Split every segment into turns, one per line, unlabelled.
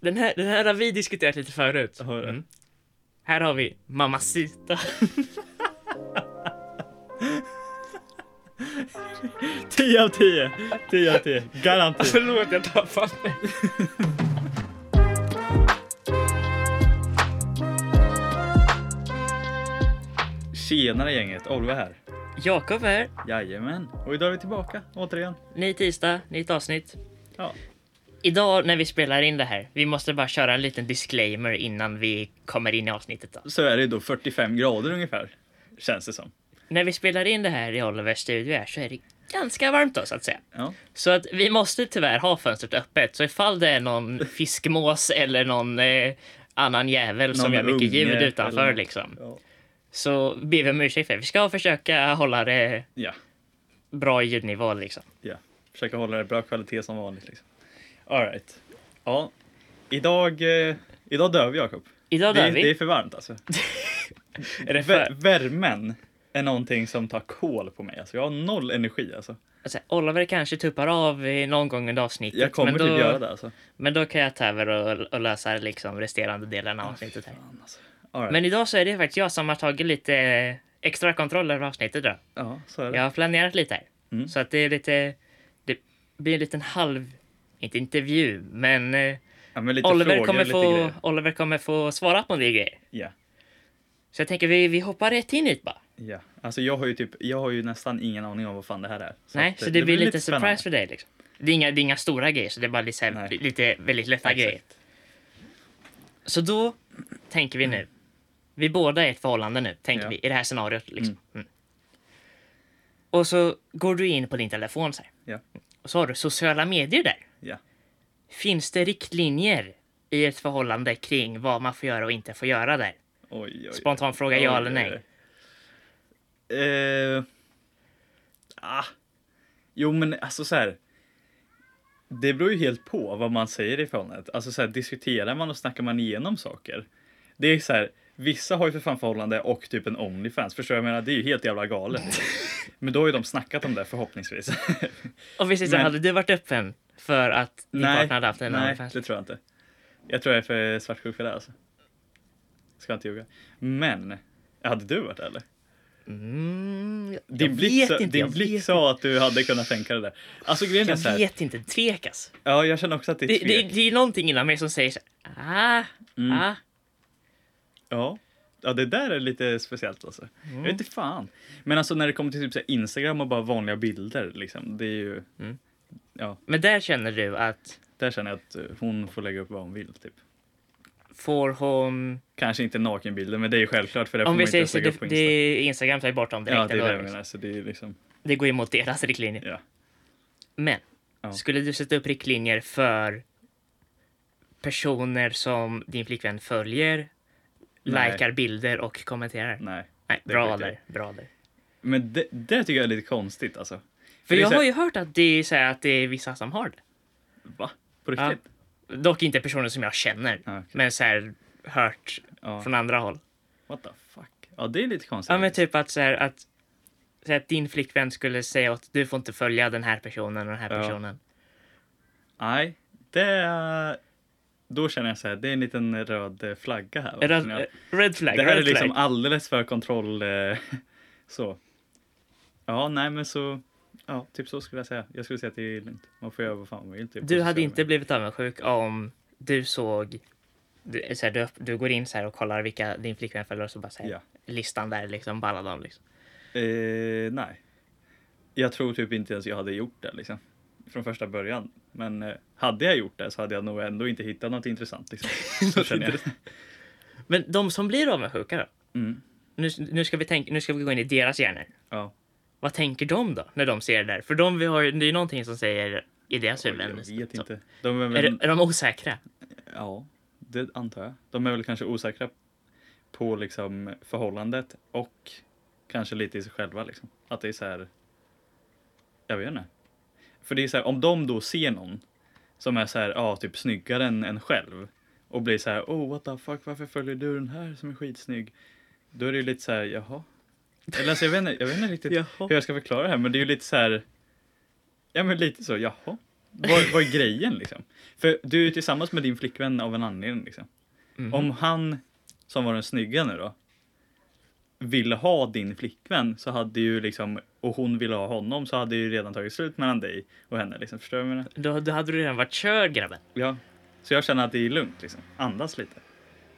Den här, den här har vi diskuterat lite förut.
Har det?
Här har vi Mamacita.
Tio av tio, tio av tio, Garanti.
Förlåt, jag tappade mig.
Tjenare gänget, Oliver här.
Jakob här.
Jajamän. Och idag är vi tillbaka, återigen.
Ny tisdag, nytt avsnitt.
Ja.
Idag när vi spelar in det här, vi måste bara köra en liten disclaimer innan vi kommer in i avsnittet. Då.
Så är det då 45 grader ungefär, känns det som.
När vi spelar in det här i Olivers studio här så är det ganska varmt då så att säga.
Ja.
Så att vi måste tyvärr ha fönstret öppet. Så ifall det är någon fiskmås eller någon eh, annan jävel som
Någon
gör mycket
unge
ljud utanför
eller något.
liksom.
Ja.
Så ber vi om ursäkt för det. Vi ska försöka hålla det
ja,
bra i ljudnivå liksom.
ja. Försöka hålla det bra kvalitet som vanligt. Liksom. All right. Ja, idag, eh, idag dör vi Jakob.
Idag
Det,
dör
är-
vi.
det är för varmt alltså.
Är det
Vär,
för...
värmen är någonting som tar kol på mig. Alltså, jag har noll energi alltså.
alltså, Oliver kanske tuppar av i någon gång under avsnittet.
Jag kommer
men då,
typ göra det alltså.
Men då kan jag ta över och, och lösa liksom resterande delen av avsnittet. Här.
Fan, alltså. All right.
Men idag så är det faktiskt jag som har tagit lite eh, extra kontroll över avsnittet då.
Ja, så är det.
Jag har planerat lite här.
Mm.
Så att det är lite... Det blir en liten halv... Inte intervju, men... Eh,
Ja, men lite
Oliver,
frågor,
kommer
lite
få,
grejer.
Oliver kommer få svara på en del grejer.
Ja,
Så jag tänker vi, vi hoppar rätt in hit bara.
ja. Alltså jag har ju typ, jag har ju nästan ingen aning om vad fan det här är.
Nej,
att,
så
eh,
det, blir lite
spännande.
surprise för dig liksom. Det är, inga, det är inga stora grejer, så det är bara lite, så här,
Nej.
lite väldigt lätta
Exakt.
grejer. Så då tänker vi nu. Vi båda är i ett förhållande nu, tänker
Mm. Ja.
vi, i det här scenariot. Liksom. Mm. Och så går du in på din telefon så här.
Ja,
Och så har du sociala medier där.
ja.
Finns det riktlinjer i ett förhållande kring vad man får göra och inte får göra där?
Oj, oj.
Spontan fråga,
oj,
ja
oj,
eller nej?
oj. Eh, ah. Jo, men alltså så här. Det beror ju helt på vad man säger i förhållandet. Alltså så här, diskuterar man och snackar man igenom saker. Det är så här, vissa har ju för fan förhållande och typ en Onlyfans. Förstår du vad jag menar? Det är ju helt jävla galet. Men då har ju de snackat om det förhoppningsvis.
Och visst men...
Men-
hade du varit öppen för att din partner hade haft en
nej
OnlyFans?
det tror jag inte. Jag tror jag är för svartsjuk för det alltså. Ska inte ljuga. Men, hade du varit det eller?
Mm, jag
Din blick,
vet
sa,
inte,
din
jag
blick
vet
sa att du hade kunnat tänka det där. Alltså grejen är så
Jag
här,
vet inte, tvek alltså.
ja jag känner också att det
Det,
är
det,
tvek. Mm.
det är någonting inom mig som säger så här, ah, ah.
Ja. ja, det där är lite speciellt alltså. Jag vet inte fan. Men alltså när det kommer till typ så här Instagram och bara vanliga bilder liksom, det är ju, ja,
Men där känner du att
där känner jag att eh, hon får lägga upp vad hon vill typ.
får hon...
Kanske inte nakenbilder, men det är ju självklart för det
Om
får
vi
man
säger
inte
så,
lägga upp på
det,
Insta.
det Instagram tar ju bort dem direkt.
ja, det är
eller
det
vad
jag
liksom.
menar. Så det är liksom,
det går emot deras riktlinjer.
ja.
Men,
Ja.
skulle du sätta upp riktlinjer för personer som din flickvän följer,
Nej.
likar bilder och kommenterar?
Nej.
Nej,
det
bra
skiter jag
där, bra där.
Men det, det tycker jag är lite konstigt alltså.
För
det är
jag
så här-
har ju hört att det är, så här, att det är vissa som har det.
Va? På
Ja.
riktigt?
Dock inte personer som jag känner,
Ja, okej.
men så här hört
Ja.
från andra håll.
What the fuck? Ja, det är lite konstigt.
Ja, men typ att så här att, så här, att din flickvän skulle säga att du får inte följa den här personen och den här
Ja.
personen.
Nej, det är... Då känner jag så här, det är en liten röd eh, flagga här. va?
Röd,
Känner jag.
red flag,
det här är
red
liksom
flag.
alldeles för kontroll. eh, Så. Ja, nej men så. Ja, typ så skulle jag säga. Jag skulle säga att det är lugnt. Man får göra vad fan man vill. Typ,
Du
Och
hade
köra
inte
med.
blivit avundsjuk om du såg du, så här, du, du går in så här och kollar vilka din flickvän följer och så bara så här,
Ja.
listan där liksom på alla dem liksom.
Eh, nej. Jag tror typ inte ens jag hade gjort det liksom. Från första början. Men eh, hade jag gjort det så hade jag nog ändå inte hittat något intressant. Liksom. Så känner jag.
Men de som blir avundsjuka då?
Mm.
Nu, nu, ska vi tänka, nu ska vi gå in i deras hjärnor.
Ja.
Vad tänker de då när de ser det där? För de vi har, ju- det är ju någonting som säger i deras
Oj,
huvuden.
jag vet
Så-
inte. De är
Är,
väl,
det- är de osäkra?
ja, det antar jag. De är väl kanske osäkra på liksom förhållandet och kanske lite i sig själva. Liksom. Att det är så här. Jag vet inte. För det är så här, om de då ser någon som är så här, ja, typ snyggare än en själv och blir så här, oh what the fuck, varför följer du den här som är skitsnygg? Då är det ju lite så här, jaha. Eller alltså, jag vet inte, jag vet inte riktigt
Jaha.
hur jag ska förklara det här, men det är ju lite så här. Ja, men lite så, jaha. Vad, vad är grejen liksom? För du är tillsammans med din flickvän av en anledning liksom. Om han, som var den snygga nu då, ville ha din flickvän så hade ju liksom, och hon ville ha honom så hade ju redan tagit slut mellan dig och henne liksom. Förstår du vad jag menar?
Då, då hade du redan varit körd grabben.
Ja. Så jag känner att det är lugnt liksom. Andas lite.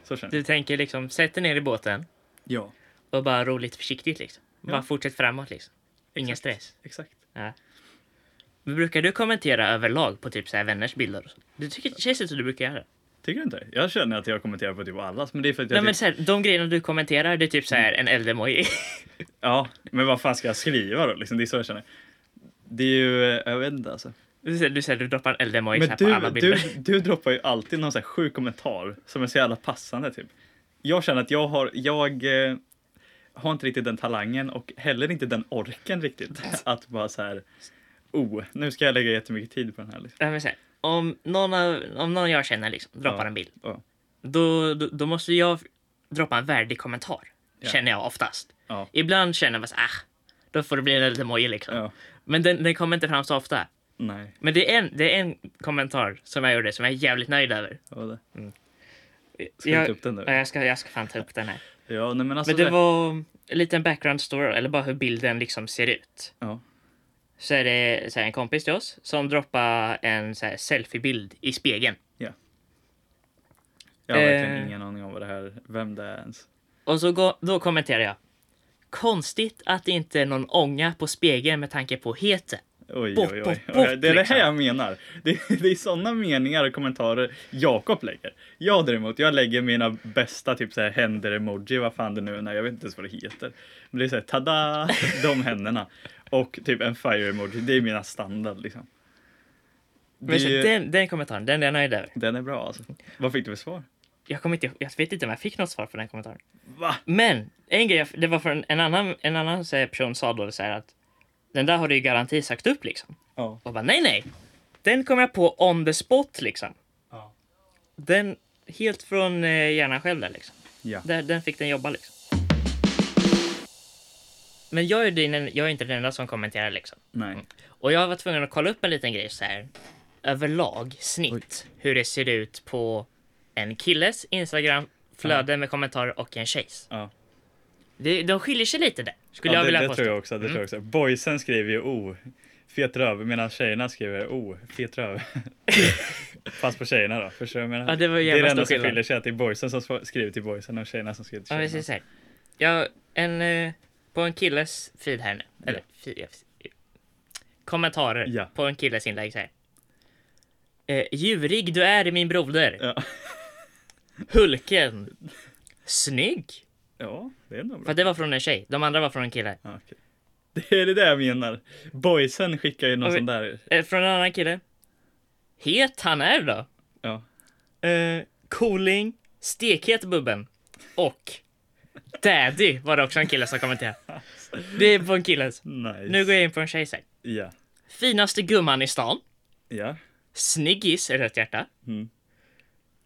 Så känner jag.
Du tänker liksom, sätt dig ner i båten
Ja.
och bara ro lite försiktigt liksom. Bara
Ja.
fortsätt framåt liksom. Ingen
Exakt.
stress.
Exakt.
Ja. Men brukar du kommentera överlag på typ så här vänners bilder? och så? Du tycker, det känns inte som du brukar göra det.
Tycker du inte det? Jag känner att jag kommenterar på typ allas men det är för att jag
Nej, men
typ-
så här, de grejerna du kommenterar, det är typ så här en eldemoji.
Ja, men vad fan ska jag skriva då liksom? Det är så jag känner. Det är ju, eh, jag vet inte alltså.
Du, säger- du säger du droppar en eldemoji så
Men
här på alla
du,
bilder.
du, du droppar ju alltid någon så här sjuk kommentar som är så jävla passande typ. Jag känner att jag har, jag eh, har inte riktigt den talangen och heller inte den orken riktigt att bara så här, oh, nu ska jag lägga jättemycket tid på den här liksom.
Nej, men så här, om, någon av, om någon jag känner liksom, droppar
Ja.
en bild,
Ja,
då, då, då måste jag droppa en värdig kommentar.
Ja.
Känner jag oftast.
ja,
Ibland känner man så här, ah, då får det bli en eldemoji liksom.
ja.
Men den, den kommer inte fram så ofta.
Nej,
Men det är en, det är en kommentar som jag gjorde som jag är jävligt nöjd över.
vad var det? Ska du
Jag,
ta upp den nu?
ja, jag, ska, jag ska fan ta upp den här.
Ja, nej men alltså.
Men det
där-
var en liten background story, eller bara hur bilden liksom ser ut.
Ja,
Så är det så här, en kompis till oss som droppar en så här, selfiebild i spegeln.
jag har verkligen
Eh.
ingen aning om vad det här, vem det är ens.
Och så går, då kommenterar jag. Konstigt att det inte är någon ånga på spegeln med tanke på hete.
Oj,
Bort,
oj,
bort,
oj.
bort,
det är det
liksom.
här jag menar. Det, det är sådana meningar och kommentarer Jakob lägger. Jag däremot, jag lägger mina bästa typ så här händer-emoji, vad fan det nu är, nej, jag vet inte ens vad det heter. Men det är såhär, tada! De händerna. Och typ en fire-emoji, det är mina standard liksom.
Men så,
Det är-
den, den kommentaren, den är jag nöjd över.
Den är bra alltså. Vad fick du för svar?
Jag, kommer inte, jag vet inte om jag fick något svar på den kommentaren.
Va?
Men en grej, jag- det var från en annan, en annan så här, person sa då så här att den där har du ju garanti sagt upp liksom.
Ja.
Och jag bara nej, nej. Den kom jag på on the spot liksom.
Ja.
Den helt från eh, hjärnan själv där liksom.
Ja.
Där, den fick den jobba liksom. Men jag är, din, jag är inte den enda som kommenterar liksom.
Nej.
Och jag var tvungen att kolla upp en liten grej så här. Överlag, snitt, hur det ser ut på en killes Instagram flöde med kommentarer och en tjejs.
Ja.
Det, de skiljer sig lite där, skulle
Ja,
jag
det,
vilja
det
påstå. Mm.
tror jag också. Det tror jag också. Boysen skriver ju O, fet röv, medan tjejerna skriver O, fet röv. Fast på tjejerna då, förstår du vad jag menar?
Ja, det var
det
jävla
är det
stor
enda som
skillnad.
skiljer sig, att det är boysen som sv- skriver till boysen och tjejerna som skriver till
Ja, vi säger
tjejerna.
så här. Jag, en, eh, på en killes feed här nu, eller feed, jag- kommentarer
Ja.
på en killes inlägg så här. Eh, djurig du är min broder.
Ja.
Hulken. Snygg.
ja, det är nog
För
bra.
det var från en tjej, de andra var från en kille.
Ja, okej. Det är det där jag menar. Boysen skickar ju någon
Ja, vi-
sån där,
Eh, från en annan kille. Het han är då.
ja.
Eh, cooling. Stekhet bubben. Och Daddy var det också en kille som kommenterade. Det är på en killes.
Nice.
Nu går jag in på en tjej så här.
Ja,
Finaste gumman i stan.
ja.
Snyggis, rött hjärta.
Mm.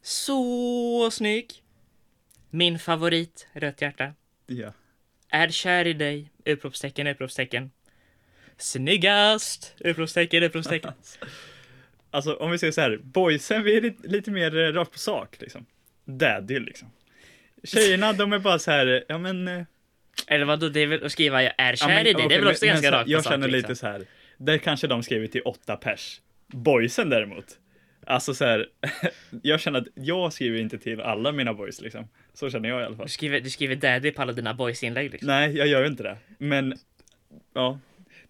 Så snygg. Min favorit, rött hjärta.
Ja.
Är kär i dig, utropstecken, utropstecken. Snyggast, utropstecken, utropstecken.
Alltså om vi säger så här, boysen vi är lite, lite mer eh, rakt på sak liksom. Daddy liksom. Tjejerna de är bara så här, ja men eh,
Eller vadå, det är väl att skriva jag är
Ja,
kär
men,
i dig, det
okej,
är väl
men-
också
men
ganska
så-
rakt på
Jag
sak,
känner
liksom.
lite så här, där kanske de skriver till åtta pers. Boysen däremot. Alltså så här, jag känner att jag skriver inte till alla mina boys liksom. Så känner jag i alla fall.
Du skriver, du skriver daddy på alla dina boys inlägg liksom.
Nej, jag gör ju inte det. Men, ja.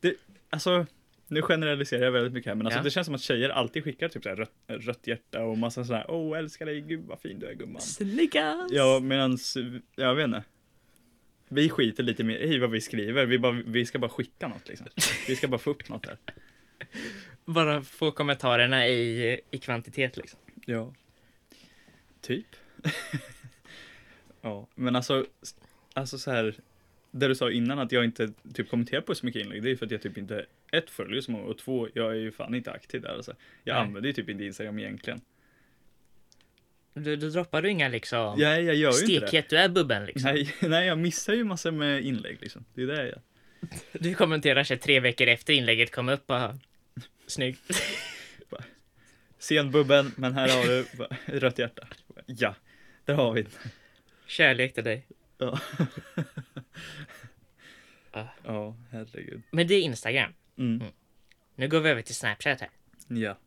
Det, alltså, nu generaliserar jag väldigt mycket här, men alltså,
Ja.
det känns som att tjejer alltid skickar typ så här rött, rött hjärta och massa sådär, åh älskar dig, gud vad fin du är gumman.
Snyggast!
Ja, medans, jag vet inte. Vi skiter lite mer i vad vi skriver, vi, bara, vi ska bara skicka något liksom. Vi ska bara få upp något där.
Bara få kommentarerna i, i kvantitet liksom.
Ja. Typ. ja, men alltså, alltså så här. Det du sa innan att jag inte typ kommenterar på så mycket inlägg, det är ju för att jag typ inte, ett, följer så många och två, jag är ju fan inte aktiv där alltså. Jag
Nej.
använder ju typ inte Instagram egentligen.
Du, du droppar du inga liksom...
Nej, jag gör ju inte det.
Stekhet du är bubben liksom.
Nej, nej, jag missar ju massor med inlägg liksom. Det är det jag gör.
Du kommenterar sig tre veckor efter inlägget kom upp bara... Snyggt.
Bara, Senbubben, men här har du bara, rött hjärta. Ja, där har vi den.
Kärlek till dig.
Ja.
Ah.
Ja, herregud.
Men det är Instagram.
Mm.
Nu går vi över till Snapchat här.
Ja.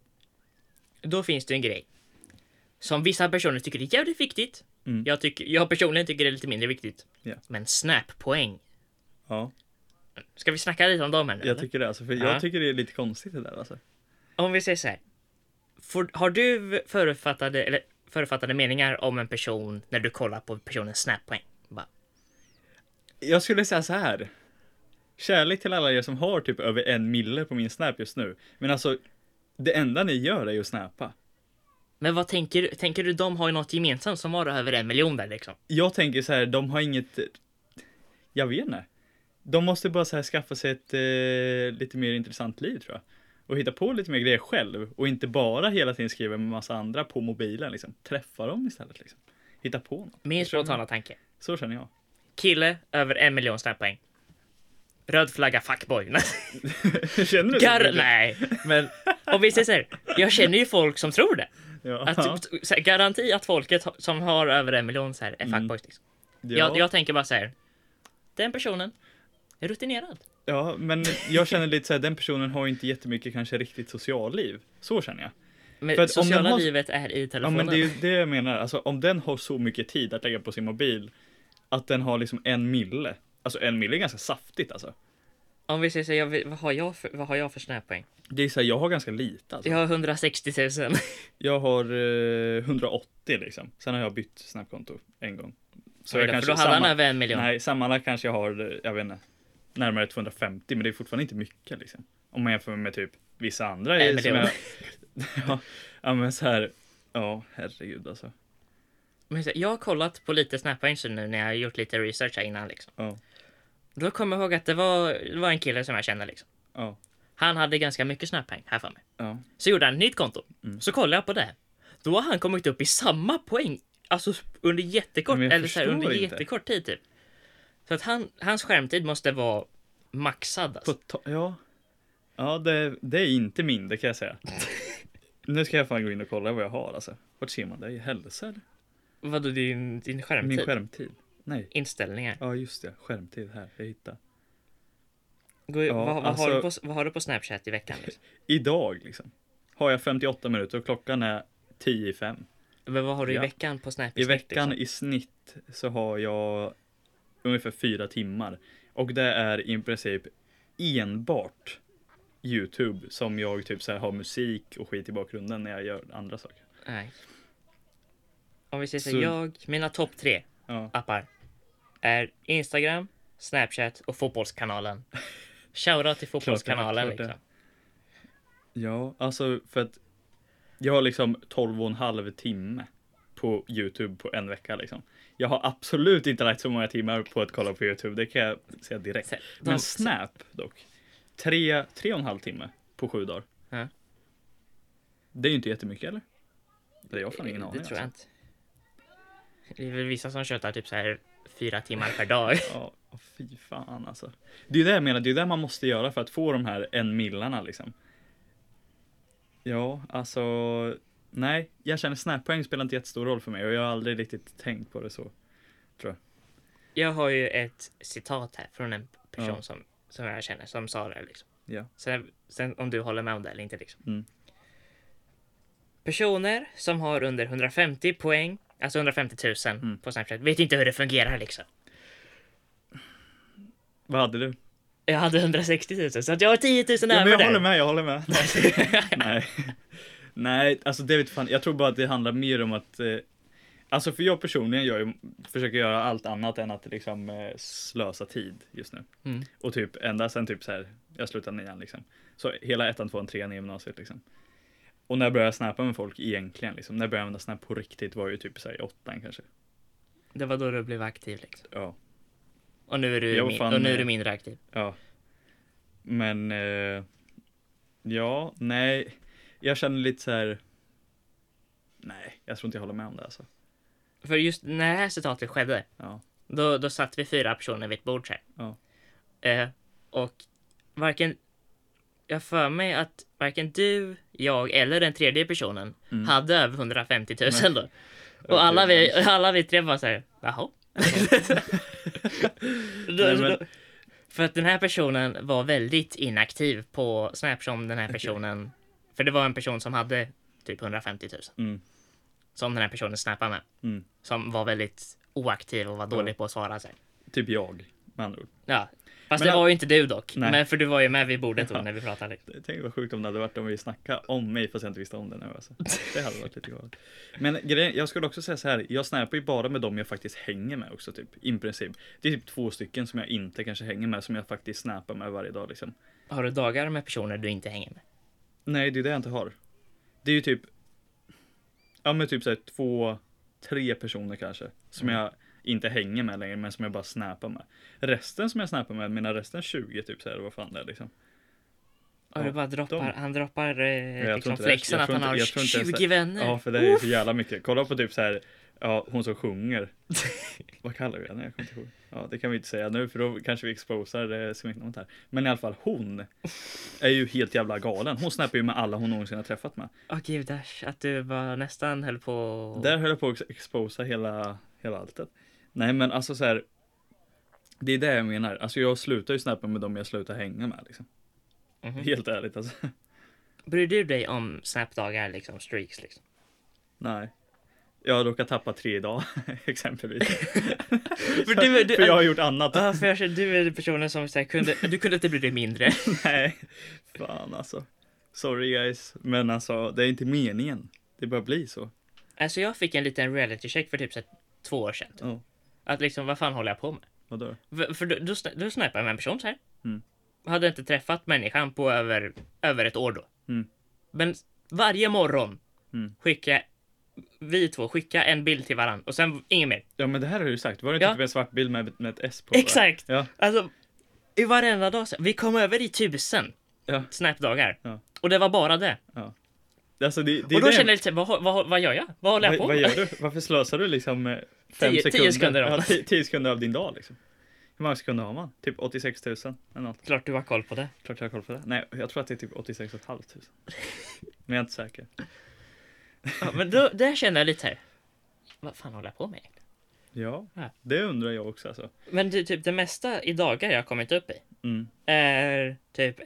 Då finns det en grej. Som vissa personer tycker är jävligt viktigt.
Mm.
Jag, tycker, jag personligen tycker det är lite mindre viktigt.
Ja.
Men Snap-poäng.
ja,
Ska vi snacka lite om dem här nu?
jag
eller?
tycker det alltså. För
Ja.
jag tycker det är lite konstigt det där alltså.
Om vi säger så här. Får, har du förutfattade, eller förutfattade meningar om en person när du kollar på personens snappoäng? Bara,
Jag skulle säga så här. Kärlek till alla er som har typ över en mille på min Snap just nu. Men alltså, det enda ni gör är ju att snappa.
Men vad tänker du? Tänker du de har ju något gemensamt som har över en miljon där liksom?
Jag tänker så här, de har inget... Jag vet inte. De måste bara så här skaffa sig ett eh, lite mer intressant liv tror jag. Och hitta på lite mer grejer själv. Och inte bara hela tiden skriva med massa andra på mobilen liksom. Träffa dem istället liksom. Hitta på något.
Min
Jag tror-
spontana tanke.
Så känner jag.
Kille över en miljon snappoäng. Röd flagga fuckboy. Nej,
känner du
Gar-
det?
nej, men om vi säger så här. Jag känner ju folk som tror det.
Ja.
Att, typ, så här, garanti att folket ha- som har över en miljon så här
Mm.
är fuckboys. Liksom.
ja.
Jag, jag tänker bara så här. Den personen är rutinerad.
Ja, men jag känner lite så här, den personen har ju inte jättemycket kanske riktigt socialliv. Så känner jag.
Men
För att om
sociala
den har-
livet är i
Ja,
telefonen.
men det är ju det jag menar. Alltså om den har så mycket tid att lägga på sin mobil att den har liksom en mille. Alltså en mille är ganska saftigt alltså.
Om vi säger så, här, jag, vet- vad, har jag för, vad har jag för snappoäng?
Det är så här, jag har ganska lite alltså.
Jag har 160 000.
Jag har eh, 180 liksom. Sen har jag bytt snapkonto en gång. Så jag
för då
kanske
hade han
samma,
över en miljon.
Nej, sammanlagt kanske jag har, eh, jag vet inte, närmare 250 men det är fortfarande inte mycket liksom. Om man jämför med typ vissa andra.
Nej,
i-
men
som
det var-
jag, ja, ja, men så här, ja herregud alltså.
Men så här, jag har kollat på lite Snapchat nu när jag har gjort lite research här innan liksom.
Ja,
Då kommer jag ihåg att det var, det var en kille som jag kände liksom.
ja,
Han hade ganska mycket Snapchat här för mig.
ja.
Så gjorde han ett nytt konto.
Mm.
Så kollade jag på det. Då har han kommit upp i samma poäng. Alltså under jättekort,
Men jag
eller så här,
förstår
under
inte.
jättekort tid typ. Så att han, hans skärmtid måste vara maxad
På
alltså.
ta- ja. Ja, det, det är inte min, det kan jag säga. nu ska jag fan gå in och kolla vad jag har alltså. Vart ser man det? I hälsa eller?
Vadå din, din skärmtid?
Min skärmtid? Nej.
Inställningar.
Ja, just det. Skärmtid här. Jag hittade.
Gå,
Ja,
vad, vad,
alltså-
har du på, vad har du på Snapchat i veckan? Liksom?
Idag liksom. Har jag 58 minuter och klockan är 10 i fem.
Men vad har du i
Ja.
veckan på Snap?
I
snitt,
veckan
liksom?
i snitt så har jag ungefär fyra timmar. Och det är i princip enbart Youtube som jag typ så här har musik och skit i bakgrunden när jag gör andra saker.
liksom? Nej. Om vi säger så,
Så-
jag, mina topp tre
Ja.
appar är Instagram, Snapchat och Fotbollskanalen. Shoutout till Fotbollskanalen
klart det.
liksom.
Ja, alltså för att jag har liksom 12 och en halv timme på Youtube på en vecka liksom. Jag har absolut inte lagt så många timmar på att kolla på Youtube, det kan jag säga direkt.
Så- de-
Men Snap dock, tre, tre och en halv timme på sju dagar.
Ja.
Det är ju inte jättemycket eller? Det har jag fan ingen
Eh, det
aning alltså.
tror jag inte. Det är väl vissa som tjötar typ så här fyra timmar per dag.
Ja, åh, fy fan alltså. Det är det jag menar, det är det man måste göra för att få de här en millarna liksom. Ja, alltså. Nej, jag känner snappoäng spelar inte jättestor roll för mig och jag har aldrig riktigt tänkt på det så.
Jag har ju ett citat här från en person
Ja.
som, som jag känner som sa det. Liksom.
Ja.
Sen, sen om du håller med om det eller inte. Liksom.
Mm.
Personer som har under 150 poäng, alltså 150 000
Mm.
på Snapchat, vet inte hur det fungerar liksom.
Vad hade du?
Jag hade 160 000 så att jag har 10 000
Ja, men
närmare
jag
där.
håller med, jag håller med. Nej. Nej, alltså det vet fan. Jag tror bara att det handlar mer om att eh, Alltså för jag personligen gör ju, försöker göra allt annat än att liksom eh, slösa tid just nu.
Mm.
Och typ ända sen typ så här, jag slutade nian liksom. Så hela ettan, tvåan, trean i gymnasiet liksom. Och när jag började snappa med folk egentligen liksom, när jag började använda snap på riktigt var ju typ så här i åttan kanske.
Det var då du blev aktiv liksom.
Ja.
Och nu är du,
Jag var
min-
fan-
och nu är du mindre aktiv.
Ja. Men, eh, ja, nej. Jag känner lite så här. Nej, jag tror inte jag håller med om det alltså.
För just när det här citatet skedde,
Ja.
Då, då satt vi fyra personer vid ett bord så här.
Ja.
Eh, och Eh, varken... jag har för mig att varken du, jag eller den tredje personen
Mm.
hade över 150 000 då. Och alla vi, alla vi tre var så här, jaha? Då-
Nej, men-
då- För att den här personen var väldigt inaktiv på Snap som den här personen, för det var en person som hade typ 150 000
Mm.
som den här personen snappade med,
Mm.
som var väldigt oaktiv och var dålig på att svara. Så här.
Typ jag, med andra ord.
Ja. Fast
Men
det
han-
var ju inte du dock,
Nej.
men för du var ju med vid bordet då när vi pratade.
Tänk vad sjukt om det hade varit om vi snackade om mig fast jag inte visste om det nu alltså. Det hade varit lite galet. Men grejen, jag skulle också säga så här, jag snappar ju bara med dem jag faktiskt hänger med också typ. I princip. Det är typ två stycken som jag inte kanske hänger med som jag faktiskt snappar med varje dag liksom.
Har du dagar med personer du inte hänger med?
Nej, det är det jag inte har. Det är ju typ, ja men typ så här två, tre personer kanske. Som
Mm.
jag inte hänger med längre men som jag bara snappar med. Resten som jag snappar med, mina resten 20 typ så här, vad fan det är liksom.
Och
Ja,
du bara droppar,
de-
han droppar eh,
Ja, jag tror
liksom
inte det.
flexen
Jag
att
tror
han
inte-
har
jag tror inte ens
20
det.
vänner.
Ja, för det är ju så jävla mycket. Kolla på typ så här, ja, hon som sjunger. Vad kallar vi henne? Jag kommer inte ihåg. Ja, det kan vi inte säga nu för då kanske vi exposar eh, smeknamnet här. Men i alla fall hon är ju helt jävla galen. Hon snappar ju med alla hon någonsin har träffat med.
Åh gudars, att du bara nästan höll på...
Där höll jag på att exposa hela, hela alltet. Nej men alltså så här. Det är det jag menar. Alltså jag slutar ju snappa med dem jag slutar hänga med liksom.
Mhm.
Helt ärligt alltså.
Bryr du dig om snapdagar, liksom streaks? Liksom?
Nej. Jag råkar tappa tre dagar exempelvis.
För, du, äh, du,
för jag har gjort annat.
Ja, för jag känner, du är den personen som så här, kunde, du kunde inte bry dig mindre.
Nej, fan alltså. Sorry guys, men alltså det är inte meningen. Det bara blir så.
Alltså jag fick en liten reality check för typ så här, två år sedan.
Ja,
Att liksom, vad fan håller jag på med?
vadå?
För- För då, då, sna- då snipade jag med en person så här.
Mm.
Hade inte träffat människan på över, över ett år då.
Mm.
Men varje morgon
Mm.
skicka vi två skicka en bild till varandra och sen inget mer.
Ja men det här har du ju sagt, var det inte
Ja.
typ en svart bild med, med ett S på? va?
Exakt.
Ja,
Alltså, i varenda dag. Så, vi kom över i tusen
ja.
snapdagar.
Ja.
Och det var bara det.
Alltså det, det är
och då
det.
kände jag lite, vad, hå- vad, hå- vad gör jag? Vad håller jag
vad,
på med?
vad gör du? Varför slösar du liksom eh, fem
Tio- tio
sekunder?
sekunder av-
ja, ti- tio sekunder av din dag liksom. Hur många sekunder har man? Typ 86 000 eller något.
Klart du har koll på det.
Klart jag har koll på det. Nej, jag tror att det är typ 86 500. Men jag är inte säker.
Ja, men då, där kände jag lite här. Vad fan håller jag på med? egentligen?
Ja,
Ja.
det undrar jag också alltså.
Men det, typ det mesta i dagar jag har kommit upp i
Mm.
är typ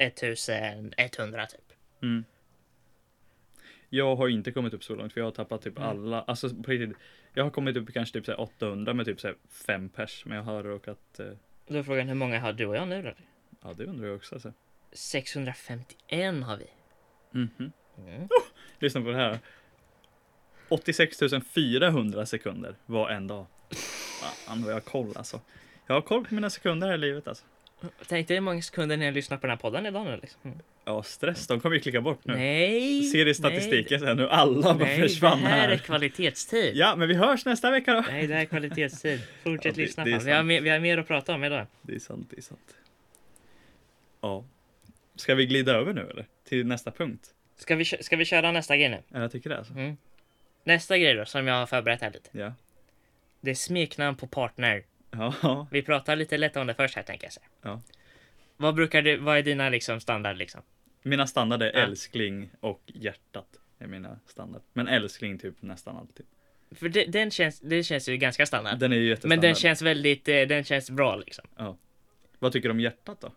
1100 typ.
Mm. Jag har inte kommit upp så långt för jag har tappat typ
Mm.
alla, alltså på riktigt. Jag har kommit upp i kanske typ så här 800 med typ så här 5 pers men jag har råkat, eh,
Då är frågan hur många har du och jag nu då?
ja det undrar jag också alltså.
651 har vi.
Mhm.
Mm.
Lyssna på det här. 86 400 sekunder var en dag. Fan vad jag har koll alltså. Jag har koll på mina sekunder här i livet alltså.
Tänk dig hur många sekunder ni har lyssnat på den här podden idag nu liksom. Mm.
Ja stress, de kommer ju klicka bort nu.
Nej!
Ser i
nej,
statistiken sen hur alla bara
Nej,
försvann
det här är
här.
kvalitetstid.
Ja men vi hörs nästa vecka då.
Nej, det här är kvalitetstid. Fortsätt
Ja, det-
lyssna.
det är
fan. vi, har
sant.
mer, vi har mer att prata om idag.
Det är sant, det är sant. Ja. Ska vi glida över nu eller? Till nästa punkt?
Ska vi, kö- ska vi köra nästa grej nu?
Ja, jag tycker det alltså.
Mm. Nästa grej då, som jag har förberett här lite.
Ja.
Det är smeknamn på partner.
Ja.
Vi pratar lite lätt om det först här tänker jag. Så. här.
Ja.
Vad brukar du, vad är dina liksom standard liksom?
Mina standard är
Ja.
älskling och hjärtat. Är mina standard. Men älskling typ nästan alltid.
För det, den känns, det känns ju ganska standard.
Den är ju jättestandard.
Men den känns väldigt, eh, den känns bra liksom.
Vad tycker du om hjärtat då?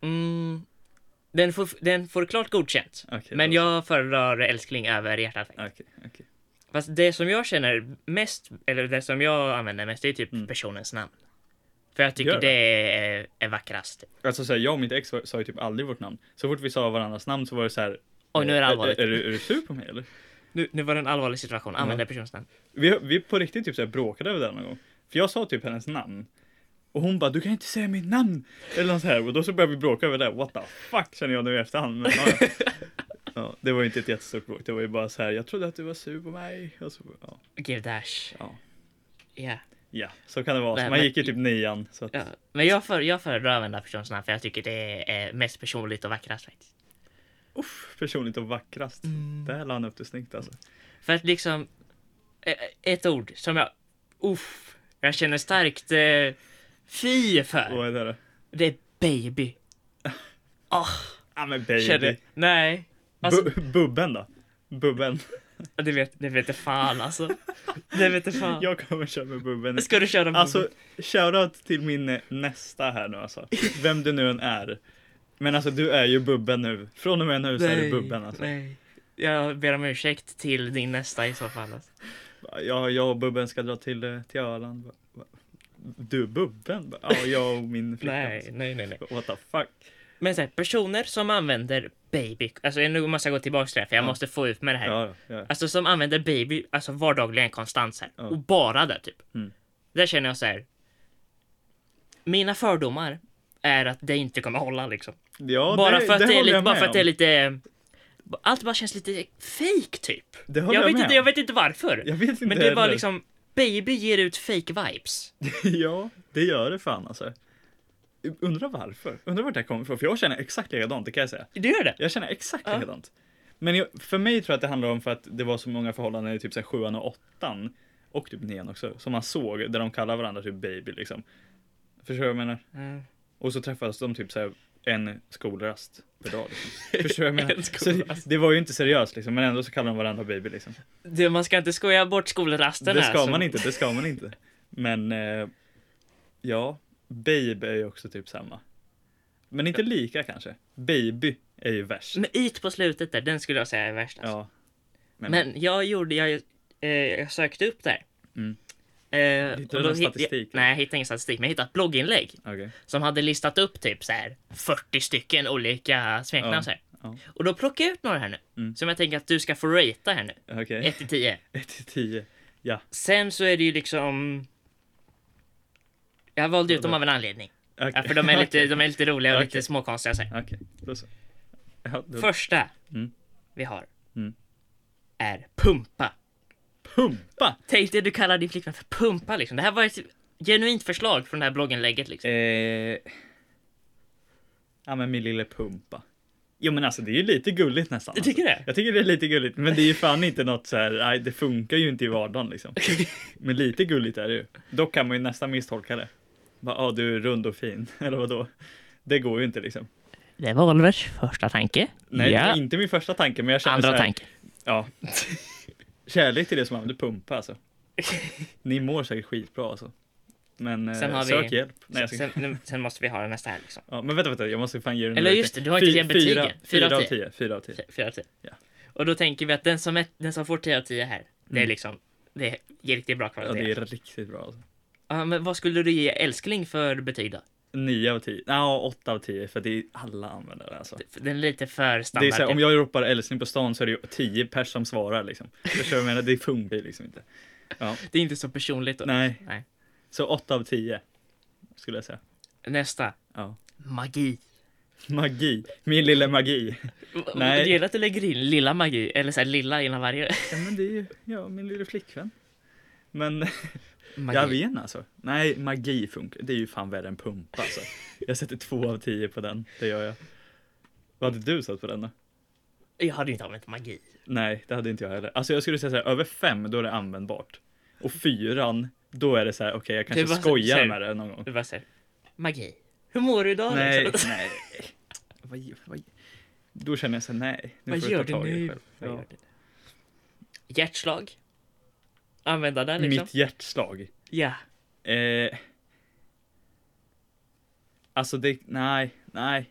Mm, den, får, den får klart godkänt.
Okej,
men
då
jag föredrar älskling över hjärtat. faktiskt.
Okej, okej.
Fast det som jag känner mest, eller det som jag använder mest, det är typ
Mm.
personens namn. För jag tycker
Gör
det
det.
är, är vackrast.
Alltså så här, jag och mitt ex var- sa ju typ aldrig vårt namn. Så fort vi sa varandras namn så var det så här. eh,
Oj, nu är det allvarligt.
Är, är, du- är du sur på mig eller?
Nu, nu var det en allvarlig situation, använder personens namn.
Vi, vi på riktigt typ så här bråkade över det här någon gång. För jag sa typ hennes namn. Och hon bara, du kan inte säga mitt namn! Eller något så här. Och då så började vi bråka över det. What the fuck känner jag nu i efterhand. Men, ja, ja. ja, det var ju inte ett jättestort bråk. Det var ju bara så här, jag trodde att du var sur på mig. Och så, ja,
Gudars.
ja.
Ja.
ja, så kan det vara.
Nej,
Så man
men-
gick ju typ nian. Så att,
ja. Men jag, för, jag föredrar att använda personens namn för jag tycker det är eh, mest personligt och vackrast faktiskt.
uff, personligt och vackrast.
Mm.
Där la han upp det snyggt alltså.
För att liksom, eh, ett ord som jag, uff, jag känner starkt eh, fy för.
Vad är det då?
Det är baby. Ah,
Ja men baby.
Kände, nej. Alltså,
Bu- bubben då? Bubben.
det vet, det vet jag fan alltså. Det vet jag fan.
Jag kommer köra med bubben.
Ska du köra?
Alltså, shoutout till min eh, nästa här nu alltså. Vem du nu än är. Men alltså du är ju bubben nu. Från och med nu så är du bubben alltså.
Nej. Jag ber om ursäkt till din nästa i så fall. Alltså.
Jag, jag och bubben ska dra till, eh, till Öland. Va- va- Du bubben? Ja, jag och min flickvän.
Nej,
alltså.
nej, nej, nej.
What the fuck?
Men så här, personer som använder baby, alltså nu måste jag gå tillbaka till det här, för jag
Ja.
måste få ut med det här.
Ja, ja.
Alltså som använder baby, alltså vardagligen konstant så här.
Ja.
Och bara det typ.
Mm.
Där känner jag så här. Mina fördomar är att det inte kommer hålla liksom.
ja
bara för att det, är
håller
lite,
jag
bara
med
för att det
om.
är lite, allt bara känns lite fake typ.
Det håller
Jag vet,
med
inte,
om.
jag vet inte varför.
Jag vet inte
Men det är bara
heller.
liksom, baby ger ut fake vibes.
Ja, det gör det fan alltså. Undrar varför? Undrar vart det här kommer ifrån? För jag känner exakt likadant, det kan jag säga.
Du gör det?
Jag känner exakt
Ja.
likadant. Men jag, för mig tror jag att det handlar om för att det var så många förhållanden i typ så här sjuan och åttan och typ nian också som man såg där de kallar varandra typ baby liksom. Förstår du vad jag menar?
Mm.
Och så träffas de typ så här en skolrast per dag. Liksom. Förstår du vad jag menar?
En
Så
skolrast.
det var ju inte seriöst liksom, men ändå så kallar de varandra baby liksom.
Du, man ska inte skoja bort skolrasten
det
här,
ska
så-
man inte, det ska man inte. Men eh, ja, babe är ju också typ samma. Men inte lika kanske. Baby är ju värst.
Men it på slutet där, den skulle jag säga är värst alltså.
Ja. Men,
Men jag gjorde, jag, eh, jag sökte upp där.
Mm.
Eh,
Hittade
och då
du någon
hitt-
statistik?
Jag, nej, jag hittade ingen statistik, men jag hittade ett blogginlägg
okej.
som hade listat upp typ så här 40 stycken olika smeknamn
Ja,
så här.
ja.
Och då plockade jag ut några här nu,
Mm. Eh.
som jag tänker att du ska få ratea här nu,
Okej.
1 till 10.
1 till 10.
Sen så är det ju liksom... Jag valde ut dem av en anledning.
Okej.
Ja, för de är lite,
Okej.
de är lite roliga och
Okej.
lite småkonstiga så här.
Okej, då så. Ja, då.
Första
Mm.
vi har
Mm.
är pumpa.
Pumpa!
Tänk dig du kallar din flickvän för pumpa liksom. Det här var ett genuint förslag från det här blogginlägget liksom.
Eh, ja men min lille pumpa. Jo men alltså det är ju lite gulligt nästan.
Du tycker
alltså.
det?
Jag tycker det är lite gulligt men det är ju fan inte något så här, nej det funkar ju inte i vardagen liksom. Men lite gulligt är det ju. Dock kan man ju nästan misstolka det. Bara, ah, du är rund och fin, eller vadå? Det går ju inte liksom.
Det var Olivers första tanke.
Nej, det är inte min första tanke men jag känner så
Andra
här,
tanke.
Ja. Kärlek till det som använder pumpa alltså. Ni mår säkert skitbra alltså. Men eh,
Sen har vi-
sök hjälp. Nej, jag ska...
Sen, nu- sen måste vi ha den nästa här liksom.
Ja, men vänta, vänta, jag måste fan ge dig en
Eller
rating.
just det, du har inte
Fy-
gett betygen.
Fyra,
Fyra
fyra
av
av tio. Fyra av tio.
Fy- Fyra av tio.
Ja.
Och då tänker vi att den som, är, den som får 10 av 10 här, det är liksom, det ger riktigt bra
Mm. Ja,
kvalitet.
det
Ja,
är riktigt bra alltså.
men vad skulle du ge älskling för betyg då?
Nio av tio. Ja, åtta av tio, för det är alla användare alltså.
Den är lite för
Det är
standard.
så här, om jag ropar älskling på stan så är det ju tio pers som svarar liksom. Förstår du vad jag menar? Det funkar ju liksom inte.
Det är inte så personligt. Då.
Nej.
Nej.
Så åtta av tio. Skulle jag säga.
Nästa.
Ja.
Magi.
Magi. Min lilla magi. Nej.
Nej. Det gäller att du lägger in lilla magi, eller så här lilla innan varje.
Ja, men det är ju, ja, min lilla flickvän. Men
Magi.
jag vet inte alltså. Nej, magi funkar. Det är ju fan värre än pumpa alltså. Jag sätter två av tio på den. Det gör jag. Vad hade du satt på den då?
Jag hade inte använt magi.
Nej, det hade inte jag heller. Alltså jag skulle säga så här, över fem, då är det användbart. Och fyran, då är det så här, okej, jag kanske
Det var så-
skojar
så här-
med det någon gång.
Det var såhär, magi. Hur mår du idag?
Nej,
Liksom.
nej. Vad, gör- vad, då känner jag så här, nej. Nu
Vad
får
gör
du
du
ta tag i dig
nu?
själv.
Vad gör
Ja.
du? Hjärtslag. Använda den liksom.
Mitt hjärtslag.
Ja.
Eh, alltså det, nej, nej.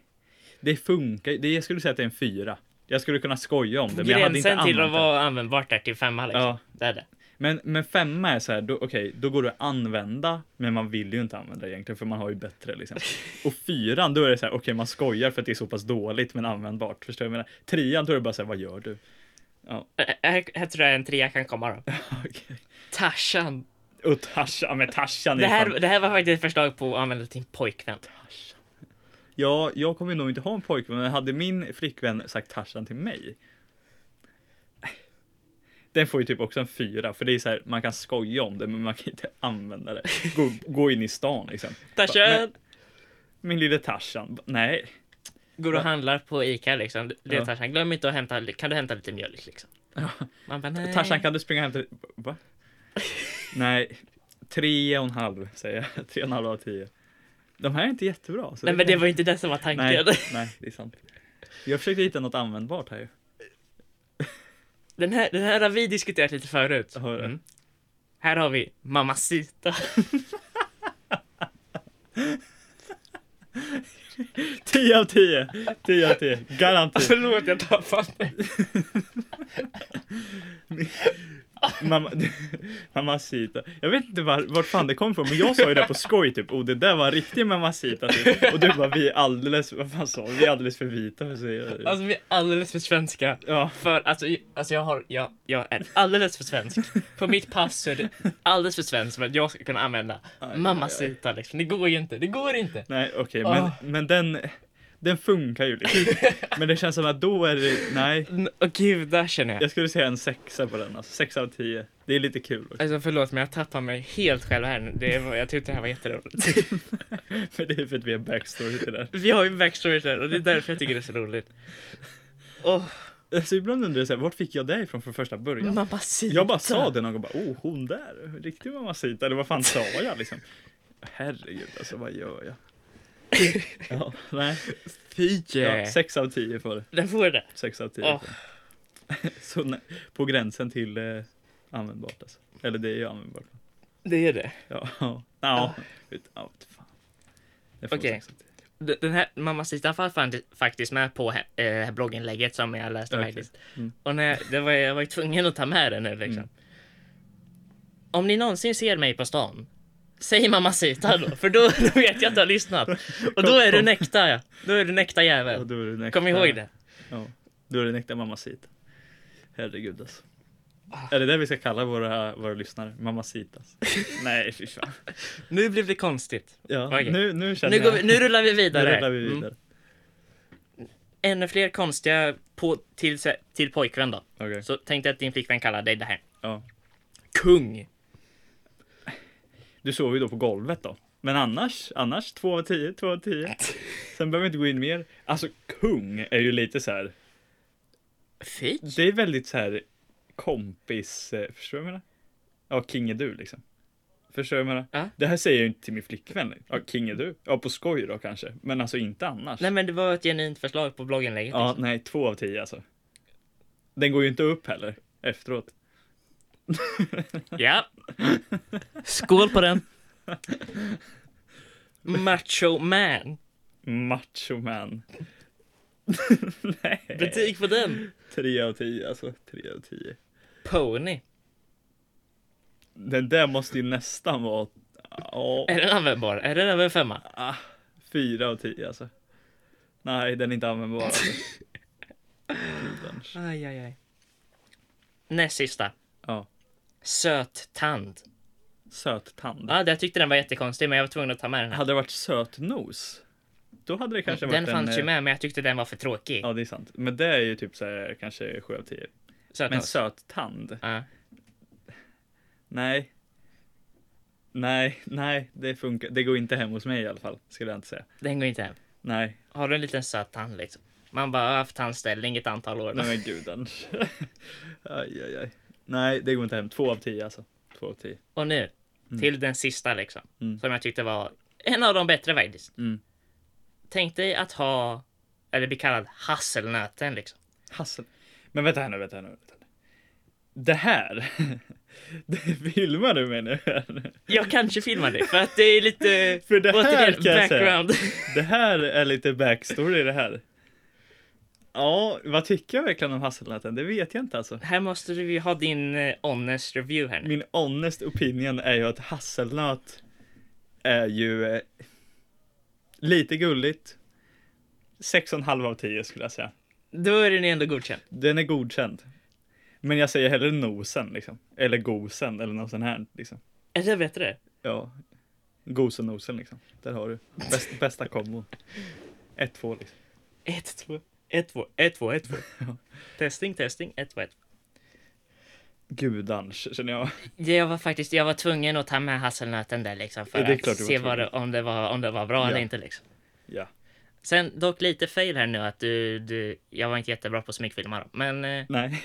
Det funkar det, jag skulle säga att det är en fyra. Jag skulle kunna skoja om det, men jag hade inte
Gränsen till att
använt
vara användbart där till femma
det.
liksom.
Ja,
Det är det.
men, men femma är så här, då, okej, då går det att använda, men man vill ju inte använda det egentligen, för man har ju bättre liksom. Och fyran, då är det så här, okej, man skojar för att det är så pass dåligt, men användbart. Förstår du vad jag menar? Trean, då är det bara så här, vad gör du?
Ä- Här, här tror jag en trea kan komma då.
Okej.
Tarzan.
Och Tarzan, men Tarzan är
Det
ju fan
här, det här var faktiskt ett förslag på att använda till en pojkvän.
Ja, jag kommer nog inte ha en pojkvän, men hade min flickvän sagt Tarzan till mig? Den får ju typ också en fyra, för det är så här, man kan skoja om det, men man kan inte använda det. Gå, gå in i stan liksom.
Tarzan!
Min lille Tarzan, ba- nej.
Går och handlar på Ica liksom. Det är
Ja.
Tarzan. Glöm inte att hämta, kan du hämta lite mjölk liksom? Man bara, nej.
Tarzan kan du springa och hämta... Va? Nej, tre och en halv säger jag. Tre och en halv av tio. De här är inte jättebra. Så
Nej men det var ju inte det som var tanken.
Nej, nej, det är sant. Jag försökte hitta något användbart här ju.
Den här, den här har vi diskuterat lite förut. Mm.
Har du?
Här har vi Mamacita.
Tio av tio, tio av tio, Garanti!
Förlåt, jag tappade mig.
Mamma, mamacita. Jag vet inte var, vart fan det kom ifrån, men jag sa ju det på skoj typ. Och det där var en riktig mamacita typ. Och du bara, vi är alldeles, vad fan sa du? Vi är alldeles för vita för att säga det.
Alltså, vi är alldeles för svenska.
Ja,
För alltså, j- alltså jag, har, jag, jag är alldeles för svensk. På mitt pass så är det alldeles för svenskt för att jag ska kunna använda
aj,
mamacita liksom. Det går ju inte, det går inte.
nej okej,
Ah.
men, men den, den funkar ju liksom. Men det känns som att då är det, nej.
N- Åh gud, där känner jag.
Jag skulle säga en sexa på den alltså, sex av tio. Det är lite kul också.
Alltså förlåt men jag tappar mig helt själv här nu. Det var, jag tyckte det här var jätteroligt.
Men det är för att vi har backstory till det.
Vi har ju backstory där och det är därför jag tycker det är så roligt. Åh,
Alltså ibland undrar jag så här, vart fick jag det ifrån från första början?
mamacita.
Jag bara sa det någon gång, bara, oh hon där, riktig mamacita, eller vad fan sa jag liksom? Herregud alltså, vad gör jag? Ja, nej.
Fy!
Ja, sex av tio får det.
Den får det.
Sex av tio.
Åh,
Så nej, på gränsen till eh, användbart alltså. Eller det är ju användbart.
det är det.
Ja, ja. ja. vet- ja vet fan. Det får
Okej.
sex av tio.
D- Den här mamacita fanns fan- faktiskt med på he- eh, blogginlägget som jag läste
Okej.
faktiskt.
Mm.
Och när jag, det var, jag var ju tvungen att ta med den nu liksom.
Mm.
Om ni någonsin ser mig på stan, säg mamacita då, för då, då vet jag att du har lyssnat. Och då är du en äkta, ja. Då är du en äkta
Och
jävel.
då är det en äkta-
Kom ihåg det.
Ja, då är det en äkta mamacita. Herregud alltså.
Ah.
Är det det vi ska kalla våra, våra lyssnare? Mamacitas? Nej, fy fan.
Nu blev det konstigt.
Ja,
Okej.
nu, nu känner
Nu, går
jag.
vi, nu rullar vi
Nu
vidare.
rullar vi
Mm.
vidare.
Ännu fler konstiga på, till, till pojkvän då.
Okej.
Så tänk dig att din flickvän kallar dig det här.
Ja.
Kung.
Du sov ju då på golvet då. Men annars, annars två av tio, två av tio. Sen behöver vi inte gå in mer. Alltså kung är ju lite så här.
Fy.
Det är väldigt så här kompis, eh, förstår du vad jag menar? Ja, king är du liksom. Förstår du vad jag menar?
Ja.
Det här säger jag ju inte till min flickvän. Ja, king är du. Ja, på skoj då kanske. Men alltså inte annars.
Nej men det var ett genuint förslag på blogginlägget.
Ja,
liksom.
nej, två av tio alltså. Den går ju inte upp heller efteråt.
ja. Skål på den. Macho man.
Macho man. nej.
Betyg på den.
Tre av tio alltså. Tre av tio.
Pony.
Den där måste ju nästan vara... Ja,
Är den användbar? Är den över en femma?
ah, fyra av tio alltså. Nej, den är inte användbar. Alltså. Gudars.
Aj, aj, aj. Näst sista.
Ja.
Söt tand.
Söt tand.
Ja, jag tyckte den var jättekonstig men jag var tvungen att ta med den här.
Hade det varit söt nos, då hade det kanske
Den
varit
fanns ju
eh,
med men jag tyckte den var för tråkig.
Ja, det är sant. Men det är ju typ så här, kanske sju av tio.
Söt
Men
tand.
söt tand?
Ja.
Nej. Nej, nej, det funkar. Det går inte hem hos mig i alla fall, skulle jag inte säga.
Den går inte hem.
Nej,
Har du en liten söt tand liksom? Man bara, jag har haft tandställning ett antal år.
nej men gudans. aj, aj, aj. Nej, det går inte hem. Två av tio alltså. Två av tio.
Och nu, till den sista liksom.
Mm.
Som jag tyckte var en av de bättre faktiskt.
Mm.
Tänk dig att ha, eller bli kallad hasselnöten liksom.
Hassel. Men vänta här nu, vänta här nu. Vänta. här nu. Det här. det filmar du med nu. här.
Jag kanske filmar det för att det är lite,
För det här
återigen,
kan jag säga.
background.
Det här är lite backstory det här. Ja, vad tycker jag verkligen om hasselnöten? Det vet jag inte alltså.
här måste du ju ha din eh, honest review här nu.
Min honest opinion är ju att hasselnöt är ju eh, lite gulligt. 6,5 av 10 skulle jag säga.
Då är den ju ändå godkänd.
Den är godkänd. Men jag säger hellre nosen liksom. Eller gosen eller något sånt här liksom.
Är det bättre?
Ja. Gosen nosen liksom. Där har du. Bäst, bästa kombon. 1-2 liksom.
1, 2, 1, 2, 1, 2, 1, 2. Testing, testing, 1, 2, 1, 2.
Gudans känner jag.
Jag var faktiskt, jag var tvungen att ta med hasselnöten där liksom för
Ja, det är
att
klart du var
se vad det,
tvungen.
om, det var, om det var bra
Ja.
eller inte liksom.
Ja.
Sen dock lite fail här nu att du, du jag var inte jättebra på smygfilmer då, men eh,
Nej.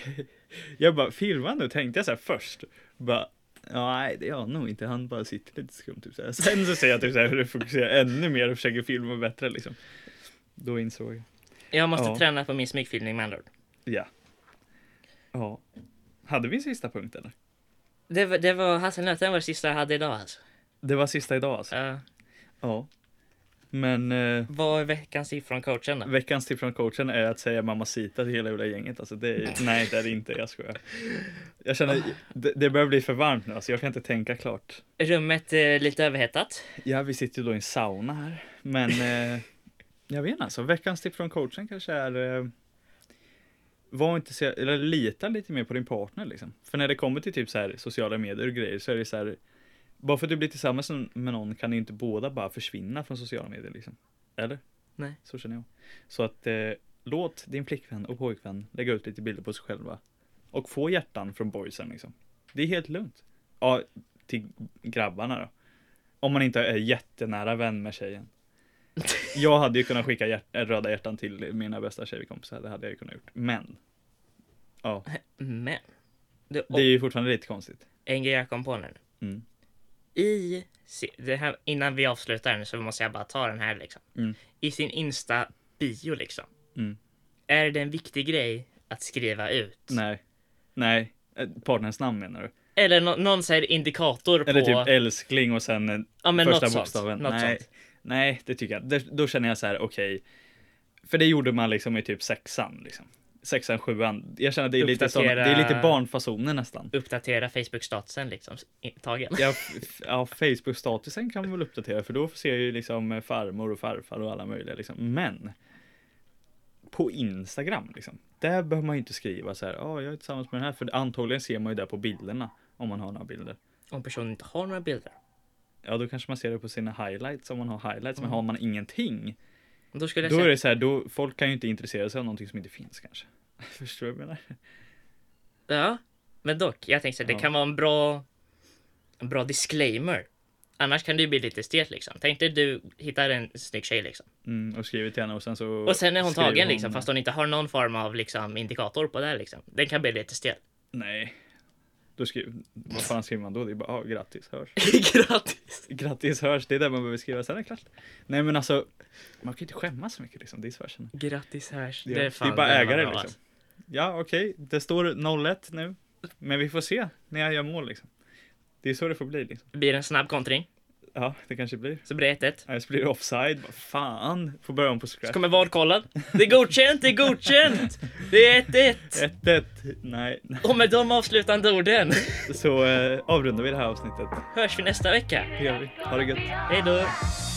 Jag bara, filma nu tänkte jag så här först. Bara, "Ja, nej det gör han nog inte, han bara sitter lite skumt. Typ så här. Sen så ser jag typ så här hur du fokuserar ännu mer och försöker filma bättre liksom. Då insåg jag.
Jag måste
Ja.
träna på min smygfilmning med andra ord.
Ja. Ja. Hade vi en sista punkt eller?
Det, var- det var hasselnöten var det sista jag hade idag alltså.
Det var sista idag alltså?
Ja.
Ja. Men eh,
vad är veckans tips från coachen då?
veckans tips från coachen är att säga mamacita till hela jävla gänget. Alltså det är, nej, det är det inte. Jag skojar. Jag känner, det, det börjar bli för varmt nu. Alltså jag kan inte tänka klart.
Rummet är lite överhettat.
Ja, vi sitter ju då i en sauna här. Men eh, jag vet inte alltså. Veckans tips från coachen kanske är eh, var inte så, eller lita lite mer på din partner liksom. För när det kommer till typ så här sociala medier och grejer så är det så här. Bara för att du blir tillsammans med någon kan ju inte båda bara försvinna från sociala medier liksom. Eller?
Nej.
Så känner jag. Så att eh, låt din flickvän och pojkvän lägga ut lite bilder på sig själva. Och få hjärtan från boysen liksom. Det är helt lugnt. Ja, till grabbarna då. Om man inte är jättenära vän med tjejen. Jag hade ju kunnat skicka hjärt- äh, röda hjärtan till mina bästa tjejkompisar, det hade jag ju kunnat gjort. Men. Ja,
Men. Det, och
det är ju fortfarande lite konstigt.
En grej jag kom på nu.
Mm.
I, si- det här, innan vi avslutar nu så måste jag bara ta den här liksom.
Mm.
I sin Insta-bio liksom.
Mm.
Är det en viktig grej att skriva ut?
Nej. Nej. Eh, Partners namn menar du?
Eller nå- någon så här indikator på...
Eller typ älskling och sen eh,
ja, men
första
något sånt,
bokstaven.
något
Nej.
sånt.
Nej, det tycker jag. Det, då känner jag så här, okej. För det gjorde man liksom i typ sexan. Liksom. Sexan, sjuan. Jag känner att det är, lite, såna, det
Uppdatera-
är lite barnfasoner nästan.
Uppdatera Facebook-statusen liksom. i- Tagen.
Ja, f- ja Facebook-statusen kan vi väl uppdatera för då ser jag ju liksom farmor och farfar och alla möjliga liksom. Men på Instagram liksom. Där behöver man ju inte skriva så här, ja, jag är tillsammans med den här. För antagligen ser man ju det på bilderna om man har några bilder.
Om personen inte har några bilder.
Ja, då kanske man ser det på sina highlights om man har highlights.
Mm.
Men har man ingenting
Då skulle jag
Då är
säga...
det så här, då, folk kan ju inte intressera sig av någonting som inte finns kanske. Förstår du vad jag menar?
Ja. Men dock, jag tänkte så här,
Ja.
det kan vara en bra... En bra disclaimer. Annars kan det ju bli lite stelt liksom. Tänk dig du hittar en snygg tjej liksom.
Mm, och skriver till henne och sen så...
Och sen är hon
skriver
tagen liksom, fast hon inte har någon form av liksom, indikator på det här, liksom. Den kan bli lite stel.
Nej. Då skriver... Vad fan skriver man då? Det är bara, ah, grattis, hörs.
Grattis!
Grattis, hörs. Det är det man behöver skriva, sen är det klart. Nej men alltså, man kan ju inte skämmas så mycket liksom. Det är så jag känner.
Grattis hörs.
Ja, det är bara
den
ägare,
man har.
liksom. Ja, okej. Det står 01 nu. Men vi får se när jag gör mål liksom. Det är så det får bli liksom.
Det blir en snabb kontring,
Ja, det kanske blir.
så blir det 1-1.
Eller så blir det offside. Vad Fan, får börja om på
Så
scratch.
kommer VAR kolla. Det är godkänt, det är godkänt! Det är 1-1!
1-1. Nej, nej.
Och med de avslutande orden
Så eh, avrundar vi det här avsnittet.
hörs vi nästa vecka.
Det gör vi. Ha det gött.
Hej då!
Thank